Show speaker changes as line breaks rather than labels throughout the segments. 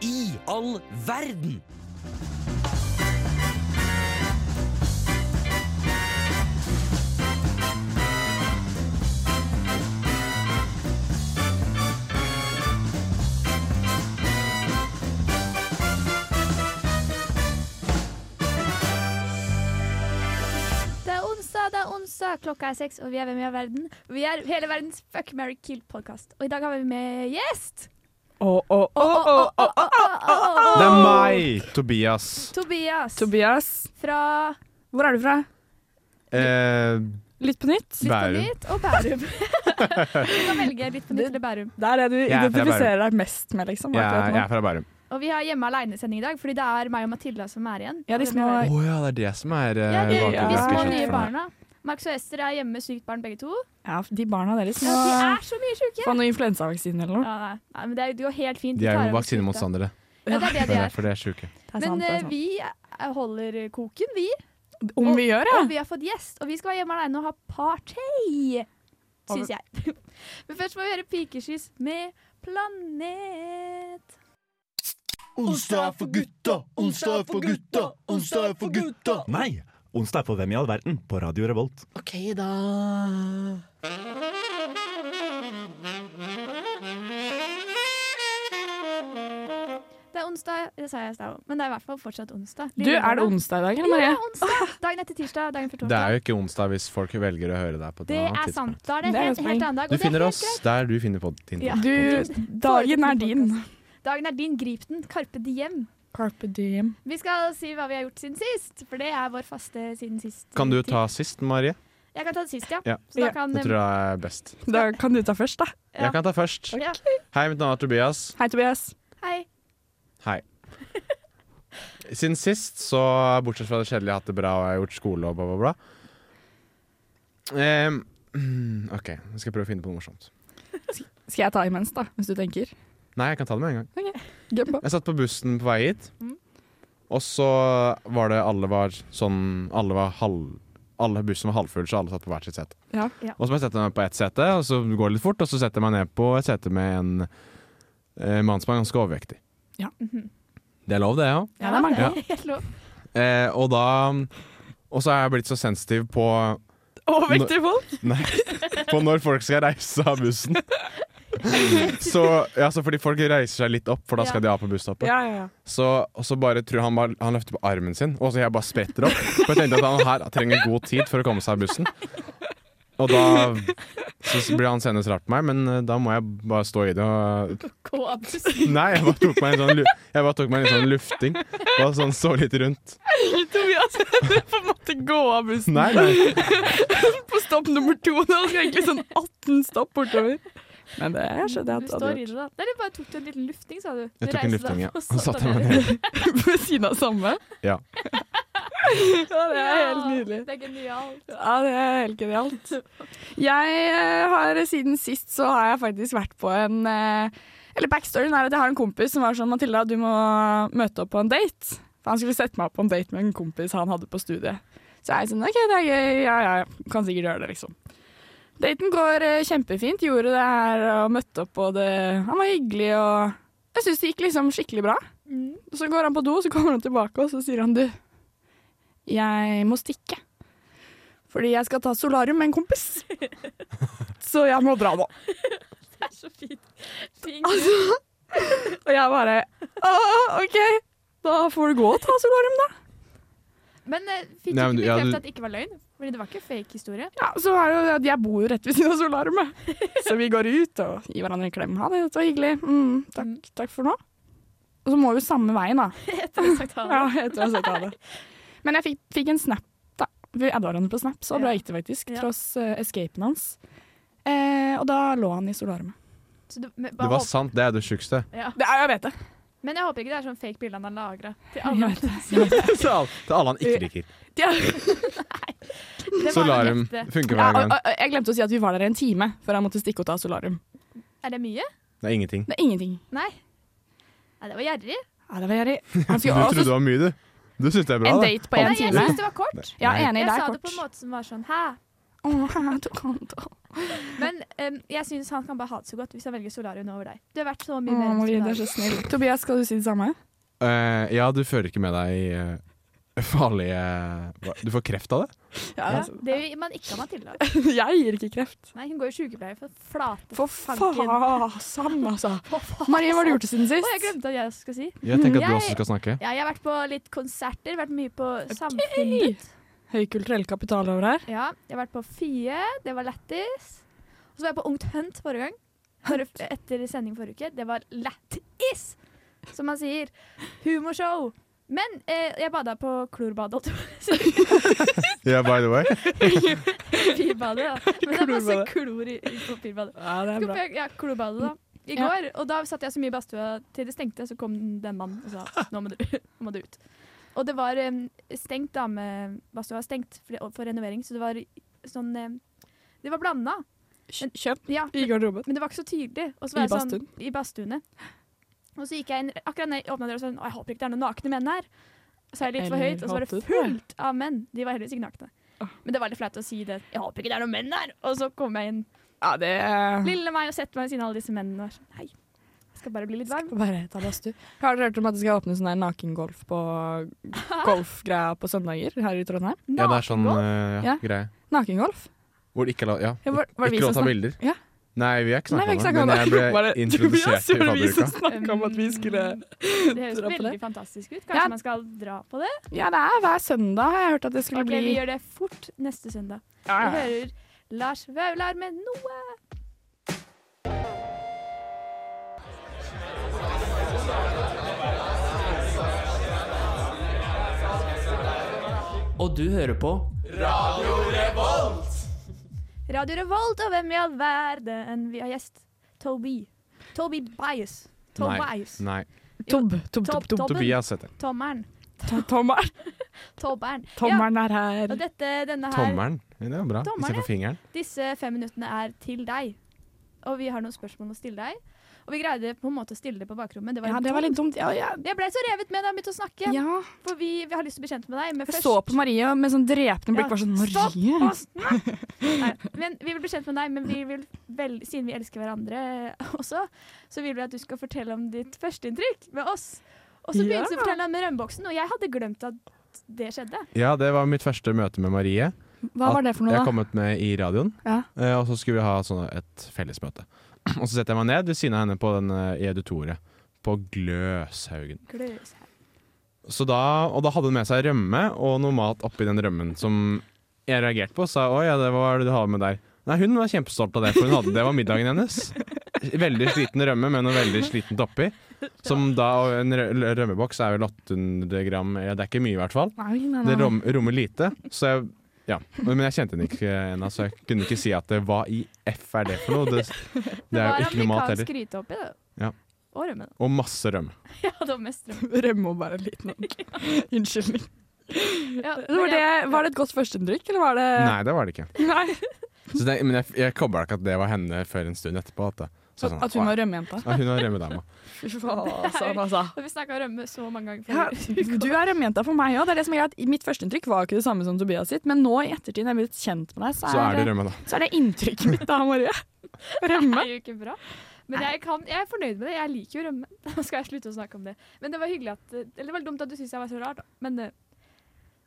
i all verden?
Det er onsdag, det er onsdag, klokka er seks, og vi er Hvem i all verden? Vi er hele verdens Fuck, marry, kill-podkast. Og i dag har vi med gjest.
Å, å, å, å, å, å.
Det er meg, Tobias.
Tobias
Tobias,
fra
hvor er du fra?
Eh,
Litt på nytt?
Litt på
Bærum.
nytt og Bærum. du kan velge Litt på nytt eller Bærum.
Det er det du
er fra
identifiserer deg mest med, liksom.
jeg,
akkurat
er-
nå.
jeg er fra Bærum.
Og vi har hjemme aleine-sending i dag, fordi det er meg og Matilda som er igjen.
Ja, de
Hvem i
Å
all
små-
verden?
ja, det er det som er eh,
Ja, de,
bakgrunnen
ja.
til
de små
sketsjen
nye
for meg.
barna. Markus og Ester er hjemme sykt barn, begge to.
Ja, de barna deres må
Ja, de er så mye sjuke!
få noe influensavaksine eller noe.
Ja, nei. nei, men det er jo helt fint.
De er
tar
jo
over smitte.
vaksinemotstandere.
Ja, det er det
Det
de
er
er.
derfor de er sjuke.
Det er
Men
sant, det
eh,
er sant.
vi eh, holder koken, vi.
Om vi gjør, ja.
Og vi har fått gjest, og vi skal være hjemme alene og ha party, syns jeg. Men først må vi høre pikeskyss med Planet.
Onsdag er for gutta, onsdag er for gutta, onsdag er for gutta.
Nei, onsdag er for Hvem i all verden på Radio Revolt.
Ok, da.
Det er onsdag, det sa jeg i stad òg, men det er i hvert fall fortsatt onsdag.
Du, er det onsdag i dag, eller
Ja, det
Marie?
er onsdag. Dagen etter tirsdag, dagen før
Det er
torsdag.
jo ikke onsdag hvis folk velger å høre deg på et
Det
annet
er sant.
tidspunkt.
Da er det
Det er
helt,
jo
helt
spennende.
annen dag. og
Du
det er
finner
helt
oss
greit.
der du finner pod- din
Ja.
Du, dagen er din.
Dagen er din, grip den. Karpe diem.
Carpe diem.
Vi skal si hva vi har gjort siden sist, for det er vår faste siden sist.
Kan du ta sist, Marie?
Jeg kan ta det sist, ja.
Ja.
Så da
Ja.
kan eh,
Det tror jeg er best.
Da kan du ta først, da.
Ja.
Jeg kan ta først.
Ja.
Hei, mitt navn er Tobias.
Hei, Tobias.
Hei.
Hei. Siden sist, så bortsett fra det kjedelige, jeg har hatt det bra og jeg har gjort skole og bla, bla, bla. Ehm, mm, OK, jeg skal prøve å finne på noe morsomt.
Skal jeg ta imens, da, hvis du tenker?
Nei, jeg kan ta det med en gang.
Gønn på.
Jeg satt på bussen på vei hit,
Mm.
og så var det Alle var sånn Alle var halv alle bussen var halvfull, så alle satt på hvert sitt sete.
Ja.
Ja.
Og så må jeg sette meg på ett sete, og så går det litt fort, og så setter jeg meg ned på et sete med en eh, mann som er ganske overvektig.
Ja.
Mhm.
Det er lov, det, ja.
Ja, det er mange.
det er helt lov.
Eh, og da Og så er jeg blitt så sensitiv på,
Overvektige folk.
nei, på når folk skal reise av bussen. Så, ja, så fordi folk reiser seg litt opp, for da skal de av på busstoppet.
Ja, ja, ja.
Så, og så bare tror jeg han, bare, han løfter på armen sin, og så jeg bare spretter opp. For jeg tenkte at han her trenger god tid for å komme seg av bussen. Og da så blir han senest rart på meg, men eh, da må jeg bare stå i det. Og,
Gå av bussen.
nei, jeg bare tok meg en sånn, lu- jeg bare tok meg en sånn lufting. Bare sånn så litt rundt.
Tobias, du på en måte gå av bussen
Nei, nei.
på stopp nummer to. Det var egentlig sånn 18 stopp bortover. Men det skjønner
Du
jeg at
står i
hadde
det, da. Nei, du bare tok du en liten lufting, sa du. Du
Jeg tok en
reiste
lufting,
deg
ja.
opp og
Og
satte
satte meg
deg
ned.
vært ved siden av samme.
Ja.
Ja, det er helt
Ja,
nydelig.
Det er genialt.
Ja, det er helt genialt. Jeg eh, har siden sist så har jeg faktisk vært på en eh, Eller backstoryen er at jeg har en kompis som var sånn Matilda, du må møte opp på en date. For han skulle sette meg opp på en date med en kompis han hadde på studiet. Så jeg er sånn OK, det er gøy. Ja, ja, ja. Kan sikkert gjøre det, liksom. Daten går eh, kjempefint. Gjorde det her og møtte opp, og det Han var hyggelig og Jeg syns det gikk liksom skikkelig bra.
Mm.
Så går han på do, så kommer han tilbake, og så sier han du, jeg må stikke. Fordi jeg skal ta solarium med en kompis. Så jeg må dra nå.
Det er så fint. Fint.
Altså. Og jeg bare «Åh, OK, da får du gå og ta solarium, da.
Men eh, fikk du
Nei, men
ikke
du- ja,
bekreftet
du-
at det ikke var løgn? Fordi det var ikke fake historie.
Ja, så er det jo det at jeg bor jo rett ved siden av solariumet. Så vi går ut og gir hverandre en klem. Ha det, det var hyggelig. Mm, takk, takk for nå. Og så må vi samme veien, da.
Etter å ha sagt ha det.
Ja, jeg tror jeg skal ta det. Men jeg fikk, fikk en snap, da. Vi adda hverandre på snap, så bra
Ja.
gikk det faktisk.
Ja.
Tross eh, escapen hans. Eh, og da lå han i solarmet.
Så du, men,
Det
bare
var
håp,
sant, det er det sjukeste.
ja.
Det er, jeg vet det.
men jeg håper ikke det er sånn fake bilde han har lagra.
Jeg vet det.
Til alle, til alle han ikke liker. Solarium funker
Ja,
hver
og,
gang.
og, jeg glemte å si at vi var der en time før han måtte stikke og ta solarium.
Er det mye?
Det er ingenting.
Det er ingenting.
Nei. Nei, det var gjerrig.
Ja, det var gjerrig.
Du
Han skulle
trodde
også
det var mye, du. Du syntes det er bra,
en
da.
date på
Nei,
en
jeg
time.
syns det var kort.
Ja, enig,
Jeg
det
sa det
er
på en
kort.
måte som var sånn hæ?
Åh, jeg tok han til-
Men em, jeg syns han kan bare ha det så godt hvis han velger solarium over deg. Du har vært så mye
Å,
mer enn
Mm, Marie, du er
solarium.
så snill. Tobias, skal du si det samme?
Eh, ja, du fører ikke med deg eh, farlige hva- Du får kreft av det?
Ja, det gjør man ikke av Matilda.
Jeg gir ikke kreft.
Nei, hun går i sykepleie for flate
For
fanken.
faen, altså.
For faen.
Marie, hva har du gjort siden
Å, jeg
sist?
glemte at jeg skal si.
Jeg tenker at
Mm,
du
Jeg-
også skal snakke.
Ja, jeg har vært på litt konserter, vært mye på Samfunnet.
Høykulturell kapital over her.
Ja, jeg har vært på Fie, det var lættis. Og så var jeg på Ungt Hunt forrige gang. Forrige, etter sending forrige uke. Det var lættis, som man sier. Humorshow. Men eh, jeg bada på klorbadet, holdt jeg på å si.
Yeah, by the way.
papirbadet, da. Men det er masse klor i, i papirbadet.
Ja, det
Skal på- Ja, klorbadet, da. I
Ja.
går. Og da satt jeg så mye i badstua til det stengte, så kom den mannen og sa nå må du, nå må du ut. Og det var em, stengt, damebadstua var stengt for, for renovering, så det var sånn em, Det var blanda.
Kjøp
Ja,
i garderoben.
men det var ikke så tydelig. Og så var
I
jeg
badstuen?
Sånn, I badstuene. Og så gikk jeg inn, akkurat når jeg åpna døra og sånn Å, jeg håper ikke det er noen nakne menn her. Så er det litt for
Eller
høyt, og så var det
hatet det.
fullt av menn. De var heldigvis ikke nakne. Men det var litt flaut å si det. Jeg håper ikke det er noen menn her. Og så kom jeg inn,
Ja, det
lille meg, og setter meg ved siden av alle disse mennene. Og var sånn, Nei, jeg skal bare bli litt varm.
Bare ta badstue. Har dere hørt om at det skal åpne sånn der nakengolf på golfgreia på søndager her i Trondheim?
Ja, det er sånn
Nakengolf?
eh, ja,
Ja.
greie.
Nakengolf?
Hvor det ikke er lov Ja.
Ja, var- var det vi
ikke lov å
som
ta
snak-
bilder.
Ja.
Nei, vi har ikke
Nei, vi har
snakket
ikke
om det, men jeg ble
Bare- Tobias,
introdusert i
var det vi som
fadderuka.
snakket om at vi skulle
Det høres
dra på
veldig
det.
fantastisk ut. Kanskje
Ja.
man skal dra på det?
Ja, det er hver søndag har jeg hørt at det skulle
Ok, Vi
bli
gjør
Ah.
det fort neste søndag.
Ja,
Vi
ja.
hører Lars Vaular med noe.
Og du hører på
Radio Revolt, og hvem i all verden vi har gjest? Toby. Toby Bias. Tobias.
Nei.
Tobb, tobb,
Tobb,
tobb, tobb.
tobb.
Tobias heter den.
Tommeren.
Tommeren.
Tobberen.
Tommeren er
Ja,
her.
og dette, denne her,
Tommeren. Ja, Det er bra.
Tommeren,
Istedenfor fingeren.
disse fem minuttene er til deg. Og vi har noen spørsmål å stille deg. Og vi greide på en måte å stille det på bakrommet. Det var,
Ja,
litt
det var
tungt.
litt dumt. Ja, ja.
Jeg ble så revet med da jeg begynte å snakke.
ja.
For vi, vi har lyst til å bli kjent med deg. Men
Jeg
først
så på Marie med sånn drepende blikk.
Ja,
Var sånn,
stopp
Marie!
Nei, men vi vil bli kjent med deg, men vi vil vel, siden vi elsker hverandre også, så vil vi at du skal fortelle om ditt førsteinntrykk med oss. Og så begynte
Ja.
du å fortelle om rømmeboksen, og jeg hadde glemt at det skjedde.
Ja, det var mitt første møte med Marie.
Hva var det for
Jeg
noe,
har
da?
kommet med i radioen.
Ja.
Eh, Og så skulle vi ha sånn et fellesmøte. Og så setter jeg meg ned ved siden av henne på den, eh, i auditoriet. På Gløshaugen.
Gløshaugen.
Så da, og da hadde hun med seg rømme og noe mat oppi den rømmen som jeg reagerte på. Og sa oi, ja, det var det du hadde med der. Nei, hun var kjempestolt av det, for hun hadde, det var middagen hennes. Veldig sliten rømme, men noe veldig slitent oppi. Som da, og en rø- rømmeboks er vel 800 gram, ja, det er ikke mye i hvert fall.
Nei, nei,
Det
nei.
rom, rommer lite, så jeg ja. Men men jeg kjente henne ikke ennå, så jeg kunne ikke si at det, hva i F er det for noe? Det, det er jo ikke noe mat heller.
gryte oppi det.
Ja.
Og rømme. da.
Og masse rømme.
Ja, det var mest rømme.
Rømme og bare en liten unnskyldning.
Ja, men
Var det,
ja,
var det et godt førsteinntrykk, eller var det
Nei, det var det ikke.
Nei.
Så det, men jeg, jeg kobla ikke at det var henne før en stund etterpå. At, det- så sånn,
At hun
«Å,
var rømmejenta.
ja, hun var rømmedama.
Fy faen, altså.
og Vi snakka rømme så mange
Ja,
ganger. før.
du er rømmejenta for meg òg. Det er det som er greit. Mitt førsteinntrykk var ikke det samme som Tobias sitt, men nå i ettertid når jeg er blitt kjent med deg, så
Så er det
er,
rømme, da.
så er det inntrykket mitt da, Marie. Rømme.
Det er jo ikke bra. Men jeg, kan, jeg er fornøyd med det. Jeg liker jo rømme. Nå skal jeg slutte å snakke om det. Men det var hyggelig at eh, Eller det var dumt at du syntes jeg var så rar, da. Men eh,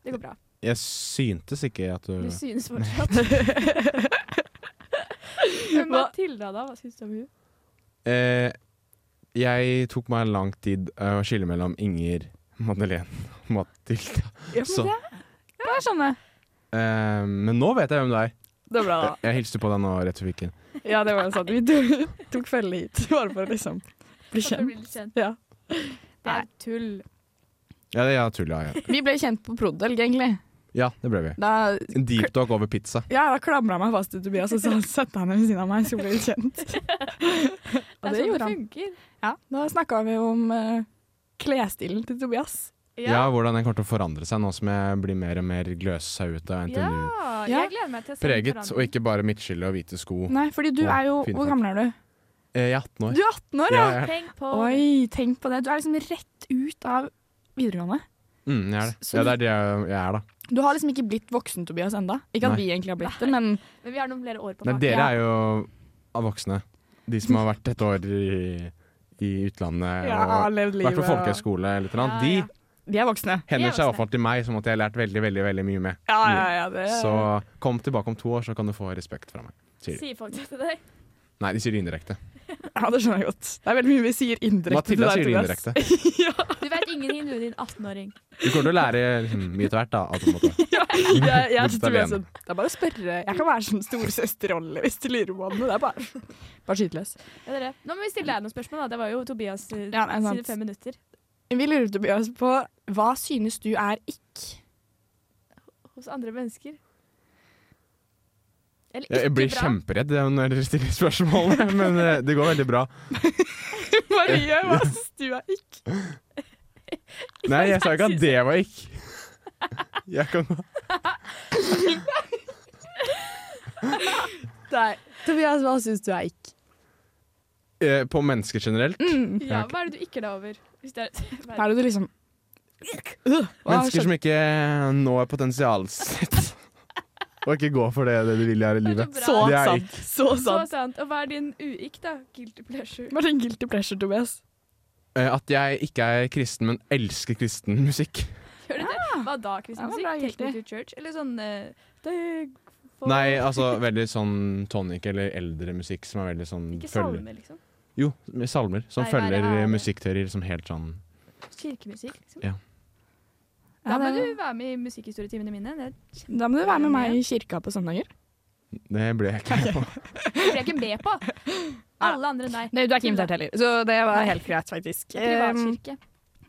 det går bra.
Jeg syntes ikke at du
Du synes fortsatt. Men
Hva-
Matilda, da? Hva syns du om hun?
eh, Jeg tok meg lang tid eh, å skille mellom Inger, Madeleine og Matilda.
Ja, men
Så,
det sånn kan jeg skjønne.
eh, men nå vet jeg hvem det er.
Det er bra, da.
Jeg, jeg hilste på deg nå rett før vi gikk inn.
Ja, det var jo sånn. sant. Vi tok, tok følge hit bare for å liksom bli
At hun
kjent.
blir litt kjent.
Ja.
Det er tull.
Ja, det, ja, tull, ja, ja.
Vi ble kjent på Prodelg, egentlig.
ja, det ble vi.
Da,
En deep talk over pizza.
ja, da klamra jeg meg fast til Tobias, og så satte han ved siden av meg, så ble vi kjent.
Det
Og
er
det
sånn det
gjorde han.
funker.
Ja, da snakka vi om eh, klesstilen til Tobias.
Ja. Hvordan den kommer til å forandre seg nå som jeg blir mer og mer gløshauete av
Ja,
NTNU.
jeg gleder meg til å se den
Preget, og
forandringen.
ikke bare midtskille og hvite sko.
Nei, fordi du
Å,
er jo
fin
Hvor
fakt.
gammel er du?
Eh, Jeg er 18 år.
Du er 18 år, ja!
Jeg er,
Tenk på
Oi, tenk på det. Du er liksom rett ut av videregående.
mm, jeg er det.
Så-
Ja, det er det jeg, jeg er, da.
Du har liksom ikke blitt voksen, Tobias, enda. Ikke
Nei.
at vi egentlig har blitt det, men
Men vi har noen flere år på
Nei,
baken.
dere er jo av voksne. De som har vært et år i, i utlandet
ja, har
og
levd
vært
livet.
på folkehøyskole eller noe
Ja,
annet,
ja.
de
De er voksne.
henvender seg i hvert
voksne.
fall til meg som at jeg har lært veldig, veldig, veldig mye med.
Ja, ja, ja. Det,
Så kom tilbake om to år, så kan du få respekt fra meg. Sier de.
Sier folk det til deg?
Nei, de sier det indirekte.
ja, det skjønner jeg godt. Det er veldig mye vi sier indirekte
Matilda sier det
Tobias.
indirekte.
Du vet ingenting, du, din 18-åring.
Du kommer til å lære liksom, mye etter hvert, da. Alt på en måte.
Jeg, jeg,
Mot
synes Tobias
alene.
er- det er bare å spørre. Jeg kan være sånn storesøsterrolle hvis du lurer på noe. Det er bare, bare skyt løs.
Ja, dere. Nå må vi stille deg noen spørsmål, da. Det var jo Tobias eh,
Ja, det er sant.
sine fem minutter.
Vi lurer Tobias på hva synes du er ikk?
Hos andre mennesker. Eller
Jeg, jeg blir
bra.
kjemperedd når dere stiller spørsmål, men eh, det går veldig bra.
Marie, hva synes du er ikk?
Nei, jeg sa ikke at det var ikke Jeg kan
Nei. Tobias, hva synes du er ikk?
Eh, På mennesker generelt.
Ja, hva er det du ikke er da over? Hvis det er,
Da er det du liksom Øh, hva
Mennesker som ikke eh, når potensialet sitt. Og ikke går for det, det de vil her i
Det er
livet.
bra.
Så
Det er
sant. Så
Så
sant.
sant. Og hva er din uik, da? Guilty pleasure.
Hva er din guilty pleasure, Tobias?
Eh, At jeg ikke er kristen, men elsker kristen musikk.
Gjør det det? Hva da, kristen
Ah! Ja, det
musikk?
var
Take
bra,
me
guilty.
to church? Eller sånn eh, det- for-
Nei, altså veldig sånn tonic eller eldre musikk som er veldig sånn
Ikke
følger
salme, liksom.
Jo, med salmer. Som
Nei, være
følger
ære.
musikkteorier som helt sånn
Kirkemusikk. Liksom.
Ja.
Da må
Ja, det-
du være med i musikkhistorietimene mine. Det
Da må du være med meg i kirka på søndager.
Det ble jeg ikke med på.
blir jeg ikke med på. Alle andre enn deg.
Nei, du er ikke invitert Ehm, heller, så det var helt greit, faktisk.
Det er Privatkirke.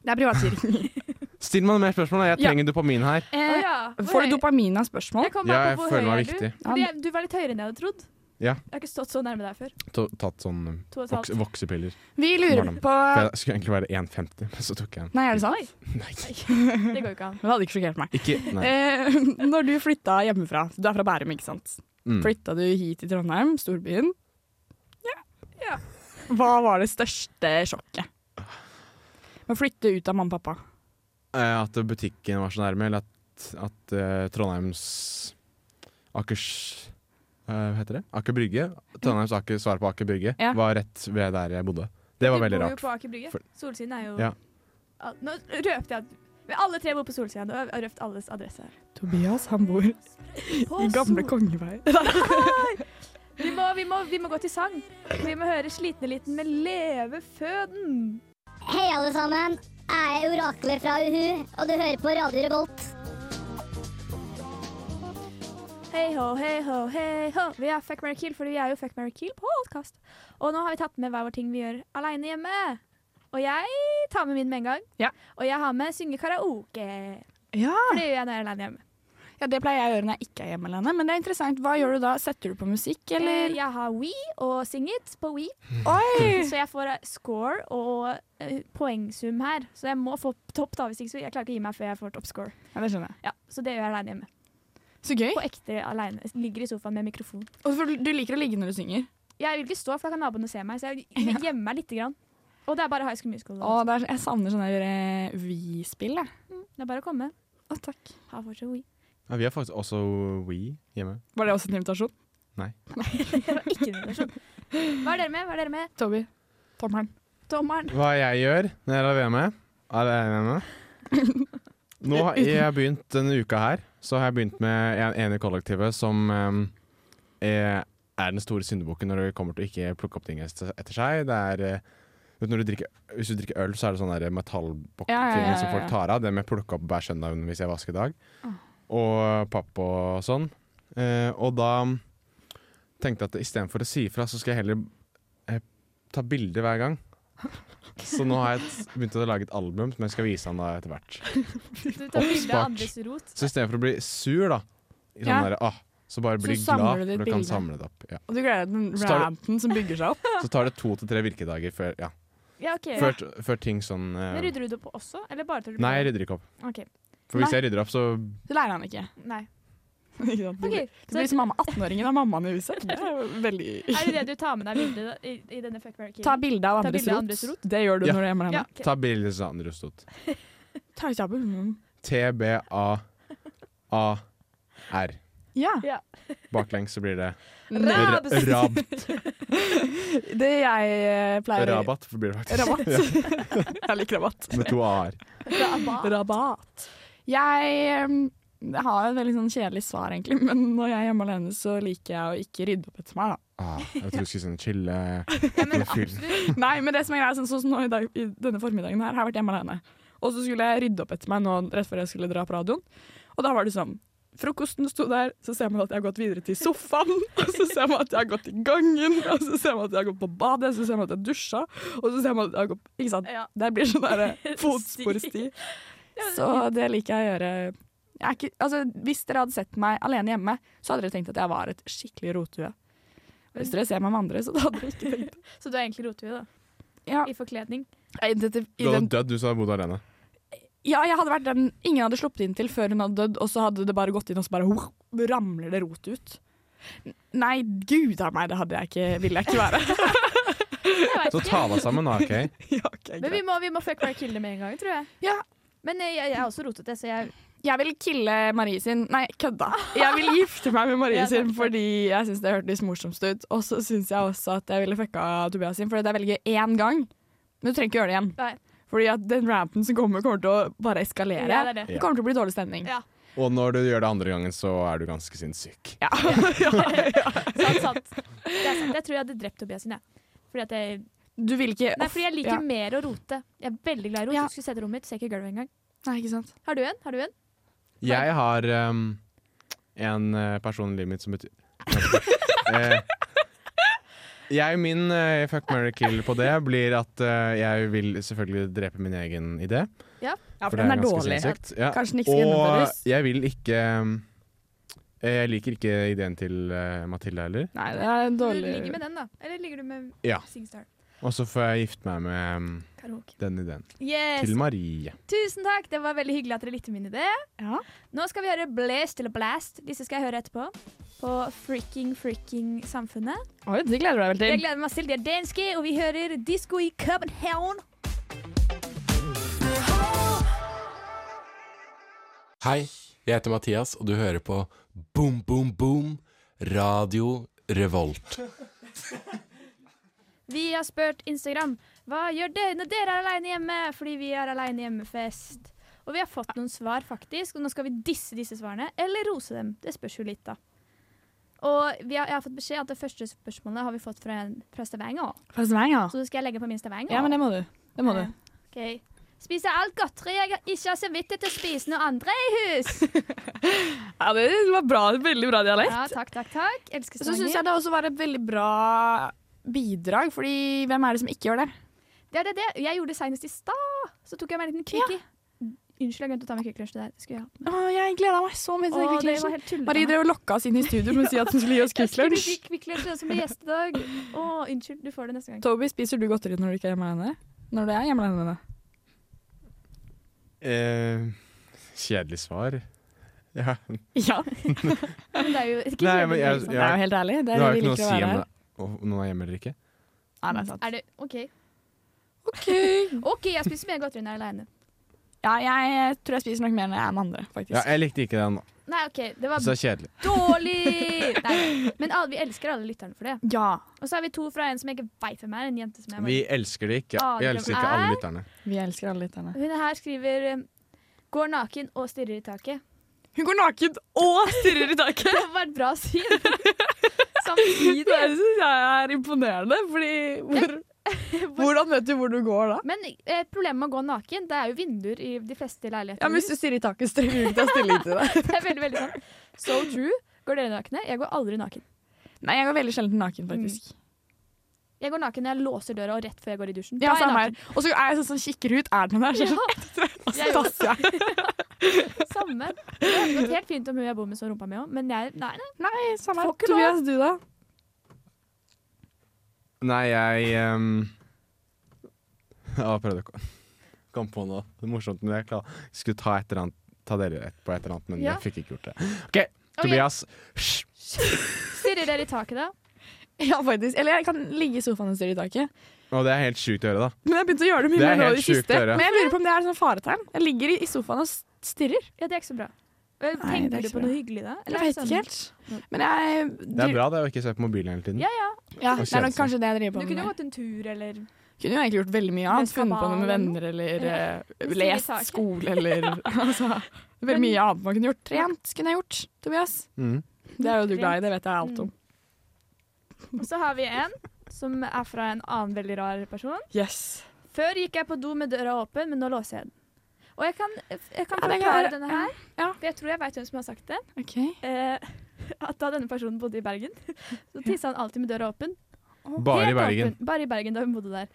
Det er privatkirke.
Still meg noen mer spørsmål, da. jeg
Ja.
trenger dopamin her.
Å
Eh,
ja. hvor
Får
høy-
du dopamin av spørsmål?
Jeg, kom
Ja,
bare
jeg
på hvor
føler
høy
meg
er du?
viktig.
Fordi jeg- Du var litt høyere enn jeg hadde trodd.
Ja.
Jeg har ikke stått så nærme deg før.
Ta- Tatt sånn eh,
To og et
voks
halvt.
voksepiller.
Vi lurer
Barnum.
på
For jeg skulle egentlig være 1,50, men så tok jeg en.
Nei, er det sant?
Nei.
Det går jo ikke an.
Det hadde ikke sjokkert meg.
Ikke Nei.
Eh, når du flytta hjemmefra Du er fra Bærum, ikke sant?
Mm.
Flytta du hit til Trondheim, storbyen?
Ja.
Hva var det største sjokket? Med å flytte ut av mamma og pappa.
Eh, At butikken var så nærme, eller at, at eh, Trondheims Akers eh, Hva heter det? Aker Brygge. Trondheims Aker svar på Aker Brygge
Ja.
var rett ved der jeg bodde. Det var veldig
Du bor jo
rart.
på Aker Brygge.
For-
Solsiden er jo
Ja.
Al- Nå røpte jeg at men alle tre bor på Solsiden, og jeg har røpt alles adresse. her.
Tobias, han bor i
På
gamle
Sol-
Kongevei.
Vi må, vi, må, vi må gå til sang. Vi må høre Sliten-eliten med Leve føden.
Hei alle sammen, jeg er oraklet fra Uhu, og du hører på Radio Revolt.
Hei ho, hei ho, hei ho. Vi er Fuck Mary Kill, fordi vi er jo Fuck Mary Kill podkast. Og nå har vi tatt med hver vår ting vi gjør aleine hjemme. Og jeg tar med min med en gang.
Ja.
Og jeg har med synge karaoke.
Ja.
For det gjør jeg når jeg er aleine hjemme.
ja, det pleier jeg å gjøre når jeg ikke er hjemme alene. Men det er interessant. Hva gjør du da? Setter du på musikk,
Eh,
eller?
Jeg har We og Sing It på We.
Eh. Oi!
Så jeg får eh, score og eh, poengsum her. Så jeg må få topp, da, hvis ikke så jeg klarer ikke å gi meg før jeg får topp score.
Ja, det skjønner jeg.
Ja, så det gjør jeg aleine hjemme.
Så gøy.
På ekte aleine. Ligger i sofaen med mikrofon.
Og for du- du liker å ligge når du synger.
Jeg vil ikke stå, for da kan naboene se meg. Så jeg gjemmer meg lite grann. Og det er bare High School Musical.
Å, det er, jeg savner sånne der, eh, vi-spill, jeg.
Det er bare å komme.
Å, takk.
Ha fortsatt we.
Ja, vi har faktisk også We hjemme.
Var det også en invitasjon?
Det var ikke en invitasjon. Hva er dere med? Hva er dere med?
Toby. Tommelen.
Dommeren.
Hva jeg gjør når jeg er alene Er jeg alene? Nå har jeg begynt denne uka her, så har jeg begynt med en ene i kollektivet som em, er er den store syndebukken når det kommer til å ikke plukke opp ting etter etter seg. Det er eh, vet du, når du drikker, Hvis du drikker øl, så er det sånne der metallboktingen
Ja, ja, ja, ja,
som folk
ja.
tar av. Det med å plukke opp hver søndag hvis jeg vasker i dag. Og papp og sånn. Eh, og da tenkte jeg at istedenfor å si ifra, så skal jeg heller eh, ta bilde hver gang. Så nå har jeg et- begynt å lage et album som jeg skal vise han da etter hvert.
Du tar bilde
Oppspart.
av andres rot.
Så istedenfor å bli sur, da, i sånn
Ja.
derre, ah, så bare bli
Så
glad,
samler du
for
ditt
du kan
bilde.
samle det opp. Ja.
Og du gleder deg til den
Så tar du-
ranten som bygger seg opp.
Så tar det to til tre virkedager før, ja.
Ja, ok.
før, før ting sånn
Men
eh,
rydder du det opp også, eller bare tar du
Nei, jeg
bilde?
rydder ikke opp.
Ok.
For hvis
Nei.
jeg rydder opp, så
Det lærer han ikke.
Nei.
Ikke sant? Det
Ok,
blir- det
så
blir som mamma 18-åringen av mammaen i huset. Det er jo veldig...
er det det du tar med deg videre i, i denne fuck Mary
Ta
Kill?
bilde av
Ta
andres
bilde av
rot.
andres rot.
Det gjør du
Ja.
når du er hjemme alene.
Ja, ok.
ta bildet til Sandra Rostot.
Ta ut jabel. Mm.
TBA A-R.
Ja.
Ja.
Baklengs så blir det
Nei,
ra-
Rabs.
rab,
Det jeg eh, pleier
Rabat blir det faktisk.
Rabatt. jeg liker rabatt.
Med to a-er.
Rabat.
Rabat. Jeg um, har et veldig sånn kjedelig svar, egentlig, men når jeg er hjemme alene, så liker jeg å ikke rydde opp etter meg. da.
Ah, jeg trodde du skulle si sånn chille
Ja, men
Fyll.
absolutt.
Nei, men det som er greia, sånn som nå i dag, i denne formiddagen her, har jeg vært hjemme alene. Og så skulle jeg rydde opp etter meg nå rett før jeg skulle dra på radioen, og da var det sånn Frokosten sto der, så ser man at jeg har gått videre til sofaen. Og så ser man at jeg har gått i gangen, og så ser man at jeg har gått på badet, så ser man at jeg dusja. Og så ser man at jeg har gått Ikke sant.
Ja.
Det blir sånn derre
Sti.
fotsporsti. Så det liker jeg å gjøre. Jeg er ikke, altså, hvis dere hadde sett meg alene hjemme, så hadde dere tenkt at jeg var et skikkelig rotehue. Og Hvis dere ser meg med andre, så hadde dere ikke tenkt det.
Så du er egentlig rotehue, da.
Ja,
I forkledning.
jeg identi-
Du hadde
ident-
dødd hvis du hadde bodd alene.
ja, jeg hadde vært den ingen hadde sluppet inn til før hun hadde dødd, og så hadde det bare gått inn, og så bare whoop, ramler det rot ut. N- Nei, gud a meg, det hadde jeg ikke, ville jeg ikke være.
Jeg vet
Så
ikke.
ta deg sammen, da, OK?
ja, ok,
Men vi
greit.
må, vi må fuck right kill det med en gang, tror jeg.
Ja.
Men eh, jeg, jeg er også rotete, så jeg
Jeg vil kille Marie sin Nei, kødda. Jeg vil gifte meg med Marie
Ja, takk
sin
for
fordi jeg syns det hørtes morsomst ut. Og så syns jeg også at jeg ville fucka Tobias sin, for det er veldig gøy én gang. Men du trenger ikke gjøre det igjen.
Nei.
Fordi at den ranten som kommer, kommer til å bare eskalere.
Ja, det er det.
det kommer til å bli dårlig stemning.
Ja.
Og når du gjør det andre gangen, så er du ganske sinnssyk.
Ja. Ja.
Sant, sant. Det er sant. Jeg tror jeg hadde drept Tobias sin, jeg. Fordi at jeg
Du vil ikke
Nei, fordi jeg liker
Ja.
mer å rote. Jeg er veldig glad i å rote.
Ja.
Du Skulle sett rommet mitt, ser ikke gulvet engang.
Nei, ikke sant.
Har du en? Har du en?
Jeg har ehm, en eh, person i livet mitt som betyr Eh, Jeg min eh, fuck, marry, kill på det blir at eh, jeg vil selvfølgelig drepe min egen idé.
Ja,
For
for
det er
den er
ganske
dårlig.
sinnssykt. Ja.
Kanskje den ikke skal
Og
gjennomføres.
jeg vil ikke eh, Jeg liker ikke ideen til eh, Mathilde heller.
Nei, det er
Du
dårlig.
ligger med den, da. Eller ligger du med
Ja.
Singstar?
Og så får jeg gifte meg med ehm,
Karaoke.
den ideen.
Yes.
Til Marie.
Tusen takk, det var veldig hyggelig at dere likte min idé.
Ja.
Nå skal vi høre Blast eller Blast. Disse skal jeg høre etterpå. På Fricking Fricking Samfunnet.
Oi, det gleder du deg vel
Jeg
til.
gleder meg til. De er danske, og vi hører disko i København.
Hei, jeg heter Mathias, og du hører på Boom Boom Boom Radio Revolt.
Vi har spurt Instagram hva gjør dere når dere er alene hjemme, fordi vi har alene hjemmefest. Og vi har fått noen svar, faktisk, og nå skal vi disse disse svarene, eller rose dem. Det spørs jo litt, da. Og vi har, jeg har fått beskjed at det første spørsmålet har vi fått fra, en- fra Stavanger.
Fra Stavanger.
Så det skal jeg legge på min Stavanger.
Ja, men det må du. Det må du.
Ok. Spiser alt godteri jeg ikke har samvittighet til å spise noe andre i hus.
Ja, det var bra, veldig bra dialekt.
Ja, takk, takk, takk. Elsker
Så syns
Stavanger.
jeg det også var et veldig bra bidrag, fordi hvem er det som ikke gjør det?
Det er det, det. Jeg gjorde det senest i stad. Så tok jeg meg en liten quickie. Unnskyld, jeg glemte å ta med quickie-lunsj til deg. Det Skulle jeg hatt med.
Å, jeg gleda meg så mye
Å,
til
det
den
var
kvikklunsjen.
helt tullete.
Marie drev og lokka oss inn i studio med å si at hun skulle gi oss
Jeg skulle
kvikklunsj.
si Kvikk Lunsj, den som blir gjest i dag. Å, unnskyld, du får det neste gang.
Toby, spiser du godteri når du ikke er hjemme alene? Når du er hjemme alene?
Eh, kjedelig svar. Ja.
Ja,
Men det er jo ikke
Nei,
kjedelig,
men jeg-
liksom.
det er jo helt ærlig. Det
Det
er det
har jo
vi
ikke noe å
liker å
si
være
om
her.
det. Om noen er hjemme eller ikke.
Nei, det er sant.
Er det OK?
OK.
OK, jeg spiser mer godteri når jeg er aleine.
Ja, jeg tror jeg spiser nok mer når jeg er med andre, faktisk.
Ja, jeg likte ikke den, da.
Nei, OK, det var
Så det er kjedelig.
dårlig! Nei, nei. men alle, vi elsker alle lytterne for det.
Ja,
Og så er vi to fra en som jeg ikke veit hvem er, en jente som jeg
Vi elsker det ikke.
Ah,
Vi
det
elsker
er-
ikke alle lytterne.
vi elsker alle lytterne.
Hun her skriver eh, Går naken og stirrer i taket.
Hun går naken og stirrer i taket!
Det var et bra syn. Samtidig.
Det syns jeg er imponerende, fordi hvor, hvordan vet du hvor du går da?
Men eh, problemet med å gå naken, det er jo vinduer i de fleste leiligheter.
Ja, men Hvis du stirrer i taket, strekker du ikke deg stilling til det.
Det er veldig, veldig sant. So true. Går dere nakne? Jeg går aldri naken.
Nei, jeg går veldig sjelden naken, faktisk.
Jeg går naken når jeg låser døra og rett før jeg går i dusjen. Da
Ja,
er jeg
samme her. Og så er jeg sånn som kikker ut. Er den der? Så, og
jeg
så
gjør
tasser jeg.
naken. Samme. Det hadde gått helt fint om hun jeg bor med, så rumpa mi òg, men jeg Nei, nei.
Nei, samme
her.
her. Tobias, du da?
Nei, jeg ehm, Ja, Jeg prøvde å ko- komme på noe Det er morsomt, men jeg klar. skulle ta, et eller annet, ta dere rett på et eller annet, men
Ja.
jeg fikk ikke gjort det. OK, Tobias. Hysj.
Stirrer dere i taket, da?
Ja, faktisk. Eller jeg kan ligge i sofaen og stirre i taket.
Og det er helt sjukt å gjøre, da.
Men jeg begynte å gjøre det mye
Det er
mer nå i
helt
det
sjukt å
siste.
gjøre.
Men jeg lurer på om det er sånn faretegn. Jeg ligger i- i sofaen og stirrer.
Ja, det er ikke så bra. Eh,
Nei, det er
Tenker
ikke
du på
bra.
noe hyggelig da? Eller er
Jeg
det sånn-
vet ikke helt. Men jeg
Det er bra det å ikke se på mobilen hele tiden.
Ja, ja.
Ja, det er nok
kjedelig.
kanskje det jeg
Du
driver på
kunne
med.
jo gått en tur, eller
Kunne jo egentlig gjort veldig mye annet.
Med
Funnet på noe med
skabal eller
venner eller eh,
Stille
lest
taket.
skole eller altså, Veldig mye annet man kunne gjort. Trent kunne jeg gjort, Tobias. Mm.
Mm.
Det er jo du glad i, det vet jeg alt om.
Og så har vi en som er fra en annen veldig rar person.
Yes.
Før gikk jeg på do med døra åpen, men nå låser jeg den. Og jeg kan, jeg kan
Ja, det kan
forklare
være-
denne her,
ja.
for jeg tror jeg veit hvem som har sagt det.
OK.
Eh, at da denne personen bodde i Bergen, så tissa han alltid med døra åpen.
Bare i
Helt
Bergen.
Åpen. Bare i Bergen, da hun bodde der.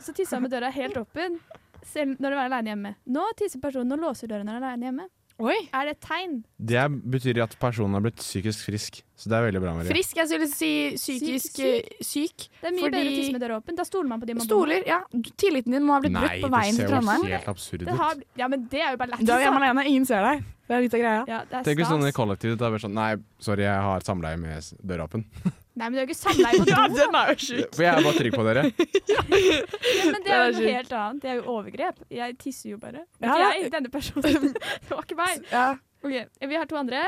Så tissa han med døra helt åpen, selv når hun var aleine hjemme. Nå tisser personen og låser døren når hun er aleine hjemme.
Oi.
Er det et tegn?
Det betyr at personen har blitt psykisk frisk, så det er veldig bra. Marie.
Frisk, jeg skulle si psykisk
Syk-
eh, syk.
Det er mye
Fordi-
bedre å tisse med døra åpen. Da stoler man på de man bor med.
Stoler, ja. Tilliten din må ha blitt brutt på veien til
Det
Trondheim.
ser jo helt absurd
Det har,
ut.
bl- ja, men det er jo bare lættis.
Du er jo hjemme
da.
alene, ingen ser deg. Det er litt av greia.
Ja, det er
Tenk hvis noen i
stas.
kollektivet er bare sånn Nei, sorry, jeg har samleie med s- døra åpen.
Nei, men det er jo ikke samleie på do. da.
den er jo sjuk.
For jeg er bare trygg på dere.
Ja, men det er jo
Det
noe
er sjukt.
helt annet. Det er jo overgrep. Jeg tisser jo bare. Ikke
Ja,
jeg, denne personen. Det var ikke meg.
Ja.
Ok, Vi har to andre.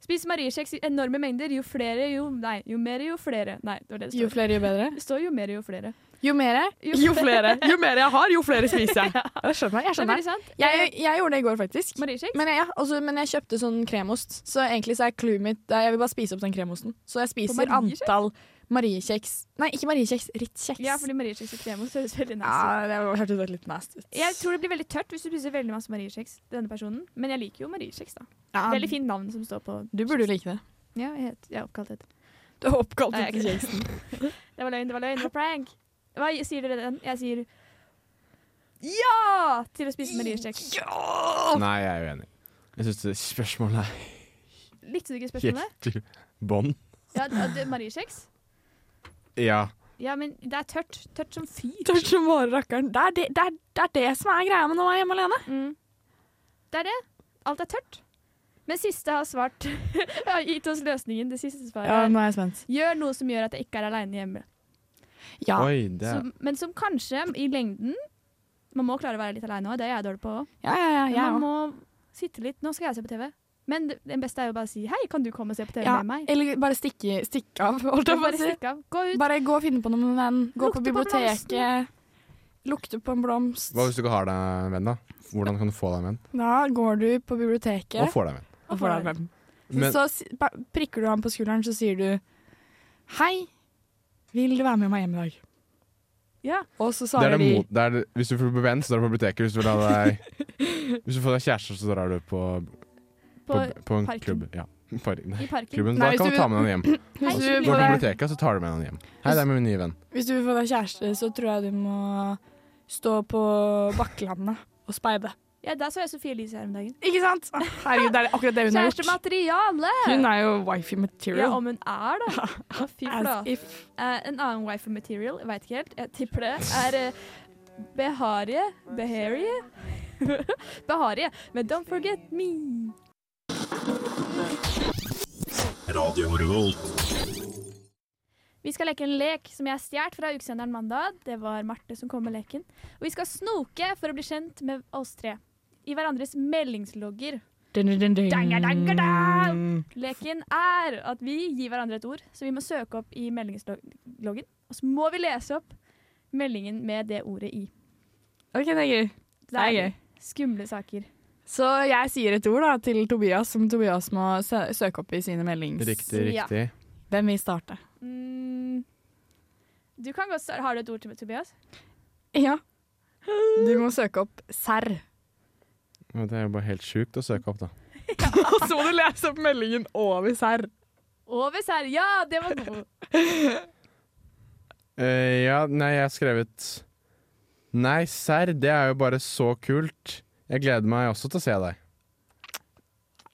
Spis Mariekjeks i enorme mengder. Jo flere, jo Nei, jo mer, jo flere. Nei, det var det det
Jo
står.
flere, jo bedre.
Det står jo mer, jo flere.
Jo mer,
Jo
jo flere. Jo mer jeg har, jo flere spiser jeg. Ja, Det skjønner jeg. jeg
Det er
skjønner.
veldig sant.
Jeg, jeg gjorde det i går, faktisk.
Mariekjeks?
Men jeg, ja, også, men jeg kjøpte sånn kremost, så egentlig så er clouet mitt det er- Jeg vil bare spise opp den kremosten. Så jeg spiser
Mariekjeks?
antall Mariekjeks Nei, ikke Mariekjeks, Ritz-kjeks.
Ja, fordi Mariekjeks og kremost høres veldig nasty ut.
Ja, det hørtes veldig litt nasty ut.
Jeg tror det blir veldig tørt hvis du spiser veldig masse Mariekjeks. til Denne personen. Men jeg liker jo Mariekjeks, da.
Ja,
Veldig fint navn som står på
Du burde jo like det.
Ja, jeg, het, jeg er oppkalt etter.
Du er oppkalt
Nei,
etter
jeg-
kjeksen.
Det var løgn, det var løgn, det var prank. Hva sier dere den? Jeg sier ja til å spise Mariekjeks.
Nei, jeg er uenig. Jeg syns spørsmålet er
Likte du ikke spørsmålet?
helt i bånn.
Ja, d- d- Mariekjeks?
Ja.
Ja, men det er tørt. Tørt som fy.
Tørt som bare rakkeren. Det er det, det, er, det er det som er greia med når man er hjemme alene.
Mm. Det er det. Alt er tørt. Men siste har svart har gitt oss løsningen. Det siste svaret er
er jeg spent.
gjør noe som gjør at jeg ikke er aleine hjemme.
Ja.
Oi, det er
Som, men som kanskje i lengden Man må klare å være litt aleine òg, det er jeg dårlig på òg.
Ja, ja, ja, ja.
Man må sitte litt. Nå skal jeg se på TV. Men det- den beste er jo bare å si hei, kan du komme og se på TV
ja.
med meg?
Eller bare stikke, stikke av, holdt jeg på
Bare
å si.
stikk av. Gå ut.
Bare gå og finne på noe med en venn. Gå
Lukte på
på biblioteket. Lukte på en blomst.
Hva hvis du ikke har deg en venn, da? Hvordan kan du få deg en venn?
Da går du på
Og
biblioteket
får deg en venn.
og får deg en venn.
Men
Så si- pa- prikker du ham på skulderen, så sier du Hei, vil du være med meg hjem i dag?
Ja.
Og
det
så
er
svarer
det mot, det er, det- hvis du får bli venn, så drar du på biblioteket. Hvis du, vil ha deg, hvis du får deg kjæreste, så drar du på, på,
På,
på en
parken.
klubb. Ja. Park, nei.
I parken.
Klubben.
Nei,
Da
hvis
kan
du-
du ta med noen hjem.
de
Hei,
hvis
så
Går
du,
du
blir
på
får deg,
biblioteket, så tar du med noen hjem. Hei, det er min nye venn.
hvis du vil få deg kjæreste, så tror jeg du må stå på Bakkelandet og speide.
Ja, der så jeg Sofie Elise her om dagen.
Ikke sant? Å, Herregud, det er akkurat det hun har gjort.
Kjærestemateriale!
Hun er jo wifey
Ja,
material.
om hun er, da. Å, fy flate.
As if.
Eh, en annen wifi material, jeg veit ikke helt, jeg tipper det, er eh, Beharie Beharie? Beharie med Don't Forget Me. Vi skal leke en lek som jeg har stjålet fra ukesenderen mandag. Det var Marte som kom med leken. Og vi skal snoke for å bli kjent med oss tre. I hverandres meldingslogger.
Dun, dun, dun, dun.
Dangadangada! Leken er at vi gir hverandre et ord, så vi må søke opp i meldingsloggen. Og så må vi lese opp meldingen med det ordet i.
OK, det er gøy. Det er gøy.
skumle saker.
Så jeg sier et ord da, til Tobias, som Tobias må sø søke opp i sine meldings...
Riktig,
Ja.
riktig.
Hvem vil starte?
Mm. Du kan godt starte. Har du et ord til meg, Tobias?
Ja. Du må søke opp serr.
Men Det er jo bare helt sjukt å søke opp, da.
Og så må du lese opp meldingen over serr.
Over serr. Ja, det var god.
Eh, ja, nei, jeg har skrevet Nei, serr, det er jo bare så kult. Jeg gleder meg også til å se deg.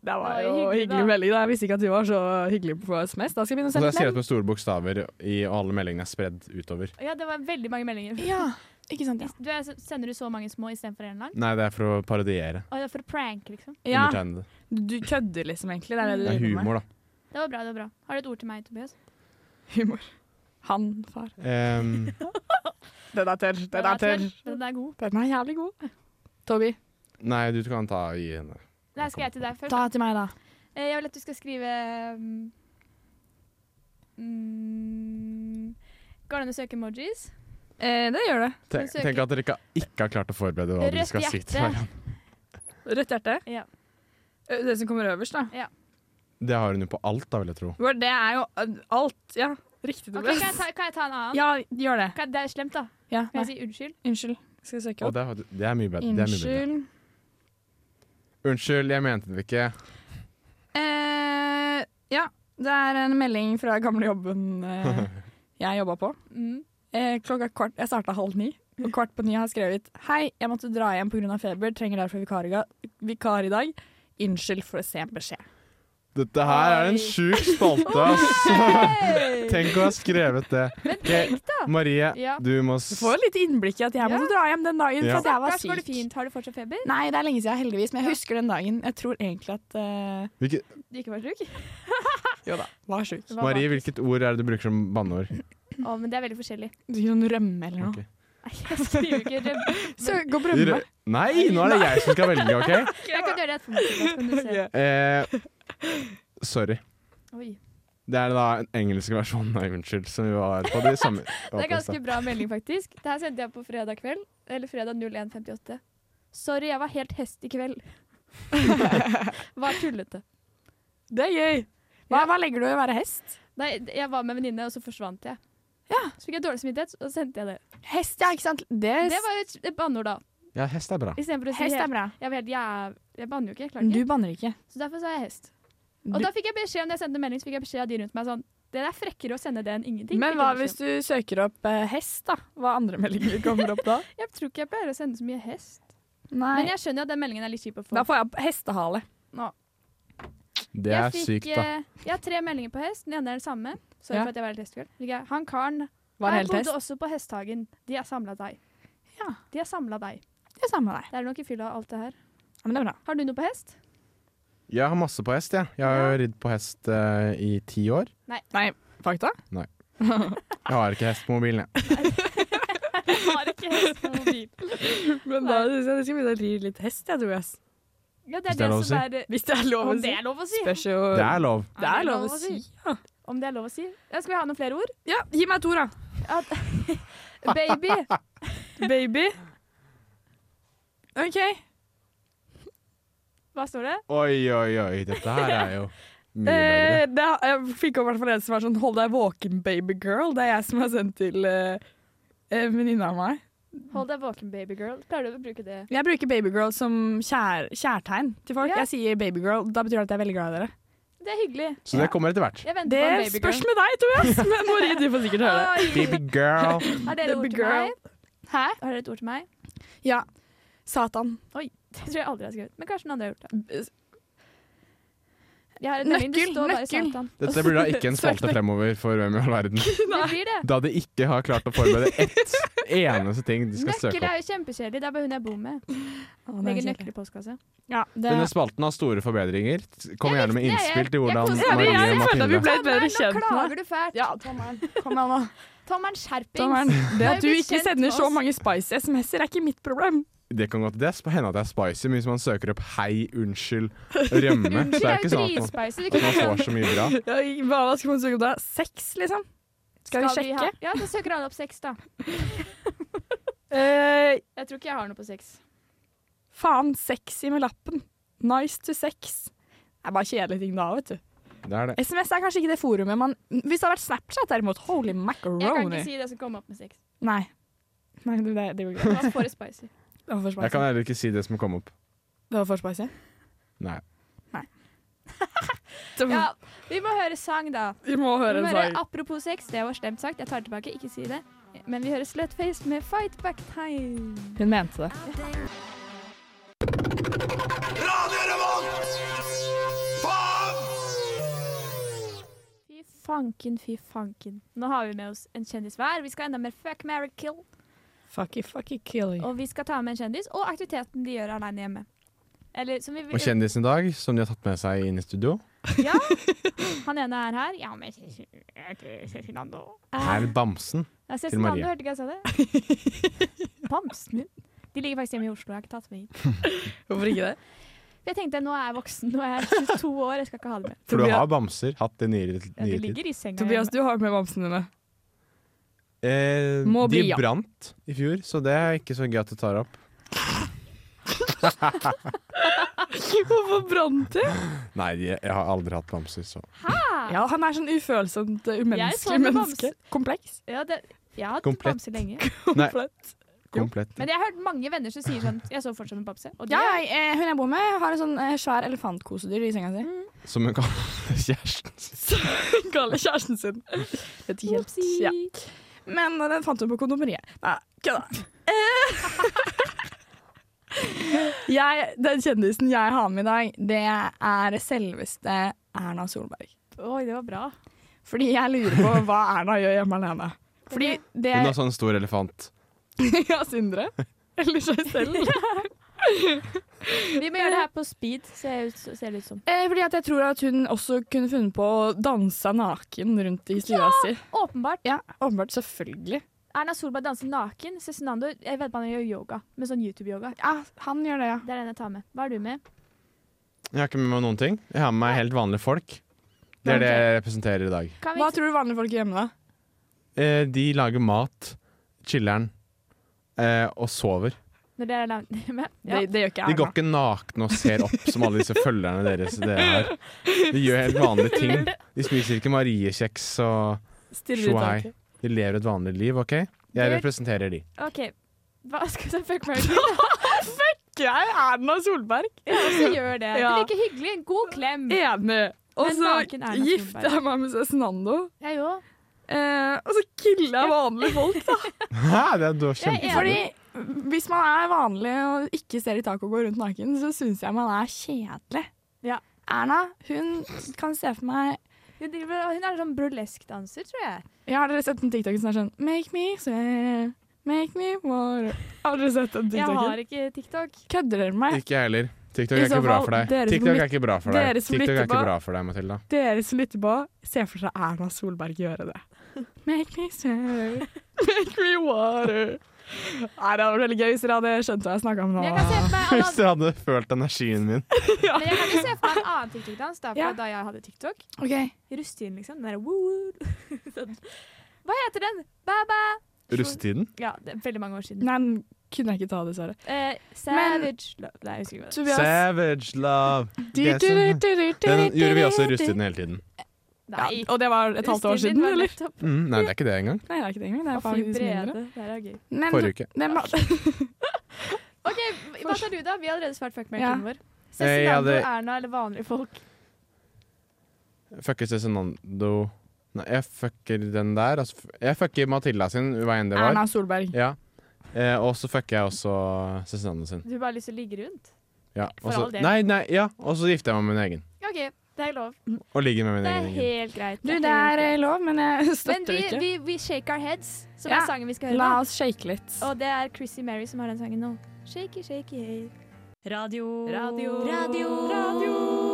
Det var
Oi,
jo
hyggelig,
hyggelig
da.
melding. da. Jeg visste ikke at du var så hyggelig på SMS. Da skal jeg begynne å
Og så har
sende
jeg skrevet med store bokstaver, i, og alle meldingene er spredd utover.
Ja, det var veldig mange meldinger.
Ja, ikke sant,
Du er, sender du så mange små istedenfor én lang?
Nei, det er for å parodiere
Og det er for å prank, liksom.
ja.
undertegnede.
Du kødder liksom egentlig. Det er det du
Det er
driver med.
humor, da.
Det var bra. det var bra. Har du et ord til meg, Tobias?
Humor. Han, far.
Em,
Den er tørr. Den
Den
er tørr.
Den er god.
Den er jævlig god. Toby.
nei, du kan ta og gi henne.
Nei, skal jeg til deg først?
Ta til meg, da.
Eh, Jeg vil at du skal skrive mm, mm, Går det an å søke emojis?
Eh, det gjør det.
Tenk, tenk at dere ikke, ikke har klart å forberede hva dere
Rødt
skal si til hverandre.
hjerte.
Rødt hjerte.
Ja.
Eh, Det som kommer øverst, da.
Det har hun jo på alt, da, vil jeg tro.
Hvor Det er jo eh, alt. Ja, riktig,
Ok,
Tobias.
kan, jeg ta, kan jeg ta en annen?
Ja, gjør det.
Kan, det er slemt, da.
Ja,
Kan
nei.
jeg si unnskyld?
Unnskyld. Skal jeg søke
Og
opp?
det, er, faktisk- det er mye bedre. Det er mye bedre.
Unnskyld.
Unnskyld, jeg mente det ikke.
Eh, ja, det er en melding fra gamle jobben eh, jeg jobba på.
Mm.
Eh, klokka kvart, Jeg starta halv ni, og kvart på ni har jeg skrevet Hei, jeg måtte dra hjem pga. feber, trenger derfor vikar i, ga- vikar i dag. Unnskyld for å se en beskjed.
Dette her er en sjuk spalte, ass. Tenk å ha skrevet det.
Men
Ok,
tenk, da!
Marie,
Ja.
du må s
Du får et lite innblikk i at jeg måtte dra hjem den dagen
Ja.
for at jeg var
Lars, går det
syk.
fint? Har du fortsatt feber?
Nei, det er lenge siden, heldigvis, men jeg husker den dagen. Jeg tror egentlig at eh,
Hvilke,
Du ikke var sjuk?
Jo da, var sjuk.
Det var
Marie,
bare-
hvilket ord er det du bruker som banneord?
Å, men det er veldig forskjellig.
Sånn rømme eller noe.
Ok.
Nei, jeg skriver ikke rømme.
Så gå på rømme.
Rø- Nei, nå er det jeg som skal velge, OK?
Jeg kan gjøre det etterpå. Mathias, kan du se.
Ok.
Eh, sorry.
Oi.
Det er da en engelsk versjon av unnskyld, som vi var på de samme
Det er ganske bra melding, faktisk. Det her sendte jeg på fredag kveld. Eller fredag 01.58. Sorry, jeg var helt hest i kveld. var tullete.
Det er gøy. Hva, hva legger du i å være hest?
Nei, jeg var med en venninne, og så forsvant jeg. Så fikk jeg dårlig samvittighet, og så sendte jeg det.
Hest, ja, ikke sant? Det,
Det var jo et, et banneord, da.
Ja, hest er bra.
Istedenfor å si
hest er
helt-
bra.
Jeg var helt jæv... Jeg banner jo ikke, jeg klarer
Du
ikke.
banner ikke.
Så derfor sa jeg hest.
Du-
Og da fikk jeg beskjed om det jeg sendte melding, så fikk jeg beskjed av de rundt meg sånn Det er frekkere å sende det enn ingenting.
Men
fikk
hva
jeg
hvis
beskjed
du søker opp eh, hest, da? Hva andre meldinger kommer opp da?
om. Jeg tror ikke jeg pleier å sende så mye hest. Men
Nei.
jeg skjønner jo at den meldingen er litt kjip å få.
Da får jeg opp hestehale.
Det er
Jeg fikk,
sykt, da.
eh, Jeg har tre meldinger på hest. Den ene er den samme. Sorry
Ja.
for at jeg var helt hestekveld. Fikk jeg, Han karen
Var
han
helt hest.
bodde også på Hesthagen. De har samla deg.
Ja.
De har samla deg.
Det er samme med deg.
Det er nok i fylla av alt det her.
Ja, men det er bra.
Har du noe på hest?
Jeg har masse på hest, jeg. Jeg har jo ridd på hest eh, i ti år.
Nei, fakta?
Jeg har ikke hest på mobilen, jeg.
Jeg har ikke hest på mobil.
Men da syns jeg du skal begynne å ri litt hest, jeg tror jeg. ass.
Ja, det
Hvis
er det,
det er lov å si.
som er eh,
Hvis det er lov å
Om
si.
det er lov å si.
Spørs jo
Det er lov.
Det er lov å si. Ja.
Om det er lov å si. Ja, skal vi ha noen flere ord?
ja, gi meg to, da.
At, baby.
Baby. OK.
Hva står det?
Oi, oi, oi. Dette her er jo mye bedre.
Eh, det, jeg fikk opp i hvert fall en som var sånn 'hold deg våken, baby girl'. Det er jeg som har sendt til eh, en venninne av meg.
Hold deg våken, babygirl. Pleier du å bruke det?
Jeg bruker babygirl som kjær, kjærtegn til folk.
Ja.
Jeg sier babygirl, da betyr det at jeg er veldig glad i dere.
Det er hyggelig.
Så det kommer etter hvert.
Jeg venter
Det
på en
spørs
babygirl.
med deg, Tobias, men Marie, du får sikkert høre det.
Baby girl.
Har dere ord til
Babygirl.
meg? Hæ? Har dere et ord til meg?
Ja. Satan.
Det tror jeg aldri jeg har skrevet. Men kanskje noen andre har gjort det.
Søk
Jeg har en melding, det
Nøkkel,
står bare
nøkkel.
Satan.
Dette blir da ikke en spalte
meg.
fremover for Hvem i all verden.
Det blir det.
Da de ikke har klart å forberede ett eneste ting de skal
Nøkkel
søke opp.
er jo kjempekjedelig. Det er bare hun jeg bor med.
Å, det er
Legger
kjedelig.
nøkkel i postkassa.
Ja, det
Denne spalten har store forbedringer. Kom gjerne med
likte det,
innspill til
jeg-
hvordan
jeg koser
ja, vi,
Marie
jeg
og
følte at vi
Mathilde
ble et bedre
Nå
kjent nå.
klager du fælt.
Ja, Tommeren. Kom igjen, da.
Tommeren, skjerpings.
Tommeren. Det
Nei,
at du
vi
ikke
kjent
sender så
oss.
mange Spice-SMS-er, er ikke mitt problem.
Det kan godt det er sp- hende at det er spicy, men hvis man søker opp 'hei, unnskyld, rømme', så
Unnskyld,
er det
jeg er
ikke
jo
sånn at man,
dritspicy.
at man får så mye bra.
Ja, i- Hva hva skal man søke opp da? Sex, liksom? Skal vi sjekke?
Ja, da søker alle opp sex, da.
Eh,
Jeg tror ikke jeg har noe på sex.
faen, sexy med lappen. Nice to sex. Det er bare kjedelige ting da, vet du.
Det er det.
SMS er kanskje ikke det forumet man Hvis det hadde vært Snapchat derimot, holy
Jeg kan ikke
macaroni.
si det som kom opp med sex.
Nei. Nei, det, det, det går
Det
ikke.
var for spicy.
Det var for
Jeg kan
spicy.
heller ikke si det som kom opp.
Det var for spicy.
Nei.
Så
Ja, vi må høre sang, da.
Vi må
Vi
høre
må
en
høre
sang.
apropos sex, det var slemt sagt. Jeg tar det tilbake, ikke si det. Men vi hører Slutface med Fight Back Time.
Hun mente det.
Fy fanken, fy fanken. Nå har vi med oss en kjendis hver. Vi skal enda mer fuck, marry, kill.
Fucky, fucky, kill you.
Og vi skal ta med en kjendis og aktiviteten de gjør alene hjemme. Eller som vi
Og kjendisen i dag, som de har tatt med seg inn i studio,
Ja. Han ene er her. Ja, men jeg heter Cezinando. Ah.
er Bamsen.
Ja,
Til
Cezinando,
Marie.
hørte ikke Eh, jeg sa det? Bamsen min. De ligger faktisk hjemme i Oslo. Jeg har ikke tatt med hit.
Hvorfor ikke det?
For jeg tenkte nå er jeg voksen, nå er jeg 22 år, jeg skal ikke ha det mer.
For du
Tobias-
har bamser hatt i nyere,
Ja, de
nyere tid.
ligger i senga.
Tobias,
hjemme.
du har med bamsene dine.
Eh,
Må
de
bli, ja.
brant i fjor, så det er ikke så gøy at du tar opp.
Hvorfor brant de?
Nei, de, jeg har aldri hatt bamser, så
Ja, han er sånn ufølsomt eh,
Jeg så
umenneskelig
en
menneske.
bamse.
Kompleks.
Ja, det, jeg har hatt
Komplett.
bamse lenge.
Nei.
Komplett.
komplett.
Men jeg har hørt mange venner som sier sånn Jeg så fortsatt en bamse. Og de
Ja,
er-
jeg, eh, hun jeg bor med, har en sånn eh, svær elefantkosedyr i senga si.
Som hun kaller kjæresten sin.
Hun kaller kjæresten sin. Vet ikke helt.
Oopsie.
Ja. Men eh, den fant hun på kondomeriet. Nei, kødda. Eh. Jeg, den kjendisen jeg har med i dag, det er selveste Erna Solberg.
Oi, det var bra.
Fordi jeg lurer på hva Erna gjør hjemme alene. Fordi det
Hun har sånn stor elefant.
Ja, Sindre. Eller seg selv.
Vi må gjøre det her på speed, ser ut- ser det ut som.
Eh, fordi at jeg tror at hun også kunne funnet på å danse naken rundt i stua si.
Åpenbart.
Ja, åpenbart. Selvfølgelig.
Erna Solberg danser naken. Cezinando jeg vet man gjør yoga, med sånn YouTube-yoga.
Ja, han gjør det, ja.
Det er den jeg tar med. Hva er du med?
Jeg har ikke med meg noen ting. Jeg har med meg helt vanlige folk. Det er det jeg representerer i dag.
Kan vi
Hva tror du vanlige folk gjør hjemme, da?
Eh, de lager mat, chiller'n eh, og sover.
Når dere er langt med? Ja.
Det, det gjør ikke
De
Erna.
går ikke nakne og ser opp som alle disse følgerne deres dere har. De gjør helt vanlige ting. De spiser ikke mariekjeks og
Stirrer
Sjo
ut
hei.
taket.
De lever et vanlig liv, OK? Jeg
Gjør-
representerer de.
OK. Hva skal vi ta fuck Mary Kill?
Jeg er Erna Solberg.
Ja, så gjør det. Det
Ja.
virker hyggelig. En god klem.
Enig. Og
Men
så
naken Erna Solberg.
gifter jeg meg med Cezinando.
Jeg òg.
Eh, og så killer jeg vanlige folk, da.
Hæ, det er, det var
Jeg er
kjempebra.
Fordi hvis man er vanlig og ikke ser i taket og går rundt naken, så syns jeg man er kjedelig.
Ja.
Erna, hun kan se for meg
Hun, driver- hun er sånn burleskdanser, tror jeg.
Ja, har dere sett den TikToken som er sånn Make me swear, make me more Har dere sett den
Jeg
TikToken?
har ikke TikTok.
Kødder dere med meg?
Ikke jeg heller. TikTok
I
er
så
ikke bra
fall,
for deg.
dere som
TikTok
lyt-
er ikke bra for deg,
dere som
TikTok er
lytter
ikke
på-
bra for deg Matilda.
Dere som lytter på, se for dere Erna Solberg gjøre det. Make me swear, make me water. Nei, det hadde vært veldig gøy hvis dere hadde skjønt hva jeg snakka om nå.
Men jeg kan se for meg en
Hvis
annen,
dere hadde følt energien min.
men jeg kan ikke se for meg en annen TikTok-dans da, fra
Ja.
da jeg hadde TikTok.
Ok.
Rustin, liksom. Den der, woo, woo. Sånn. Hva heter den? Baba!
Rustetiden?
Ja, det er veldig mange år siden.
Nei, den kunne jeg ikke ta, dessverre.
Eh, savage Love. Nei, jeg husker ikke hva det
Tobias.
Savage love. Det som- Den
Den
gjorde vi også i rustetiden hele tiden.
er.
Ja,
Nei.
og det var et halvt år
Rustin
siden,
din var
eller?
nettopp-
Mm, nei, det er ikke det engang.
Nei, det er ikke det engang. Det
Å,
er
fy
faktisk mindre.
brede. Det her er gøy.
Men-
Forrige uke.
det må-
OK, hva tar du, da? Vi har allerede svart fuck
Ja.
Mary-tiden vår.
Eh, jeg
Cezinando,
hadde-
Erna eller vanlige folk?
Fucker Cezinando Nei, jeg fucker den der. Altså, f- jeg fucker Matilda sin, hva enn det var.
Erna Solberg.
Ja. Eh, og så fucker jeg også Cezinando sin.
Du har bare lyst til å ligge rundt?
Ja.
For
og så-
all del.
nei, nei, ja. Og så gifter jeg meg med min egen.
OK, det er lov.
Og ligger med min
Det er
egen. egen.
helt greit.
Du,
er helt
det er
greit.
eh, lov, men jeg
Men
støtter
vi,
det ikke.
vi, vi shake our heads, som
Ja.
er sangen vi skal høre.
La
nå.
oss shake litt.
Og det er Chrissy Mary som har den sangen nå. Shaky, shaky head.
Radio.
Radio.
Radio.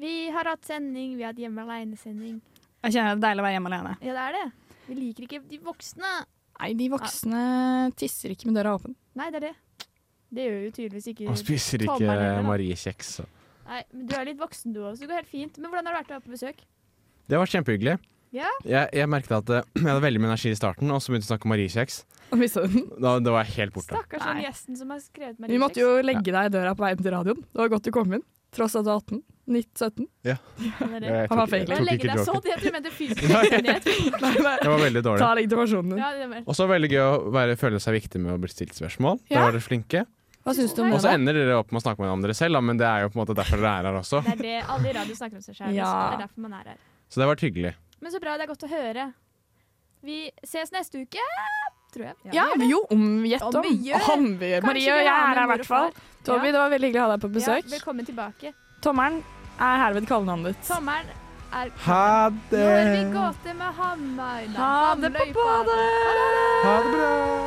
Vi har hatt sending, vi har hatt hjemme aleine-sending.
Jeg kjenner det er deilig å være hjemme alene.
Ja, det er det. Vi liker ikke de voksne.
Nei, de voksne tisser ikke med døra åpen.
Nei, det er det. Det gjør jo tydeligvis ikke
Og spiser
Tommelen ned, da.
ikke mariekjeks. så.
Nei, men Du er litt voksen du òg, så det går helt fint. Men hvordan har det vært å være på besøk?
Det var kjempehyggelig.
Ja.
Jeg, jeg merket at eh, jeg hadde veldig mye energi i starten, og så begynte jeg å snakke om mariekjeks.
Og vi så den.
Da, da var jeg helt borte.
Stakkars den
Nei.
gjesten som har skrevet med
Vi måtte jo legge deg i døra på veien til radioen. Det var godt du kom inn. Tross at du var 18. 19-17.
Jeg
Han var fake.
Jeg legger deg sånn. så
joken.
det at du mente fysisk ned.
Nei, nei.
Jeg var veldig dårlig.
Ta legitimasjonen din.
Ja, det var.
Og så veldig gøy å være, føle seg viktig med å bli stilt spørsmål. Da
Ja.
var dere flinke.
Hva syns du om
Og
det?
så
da?
ender dere opp med å snakke med om dere selv, da, men det er jo på en måte derfor dere er her også.
Det er det alle i radio snakker om seg sjøl.
Ja.
Det er derfor man er her.
Så det har vært hyggelig.
Men så bra, det er godt å høre. Vi ses neste uke, tror jeg.
Ja, jo, om gjett
Om
om.
vi gjør.
Om vi gjør.
Kanskje
Marie og
vi
jeg
har
er
med
her i
mor og
hvert fall.
far.
Toby,
Ja.
det var veldig hyggelig å ha deg på
Ja,
besøk.
velkommen tilbake.
Tommelen er herved kallenavnet ditt.
Sommeren er
Ha
Når vi gåter med hammer
Ha det på badet!
Ha det bra!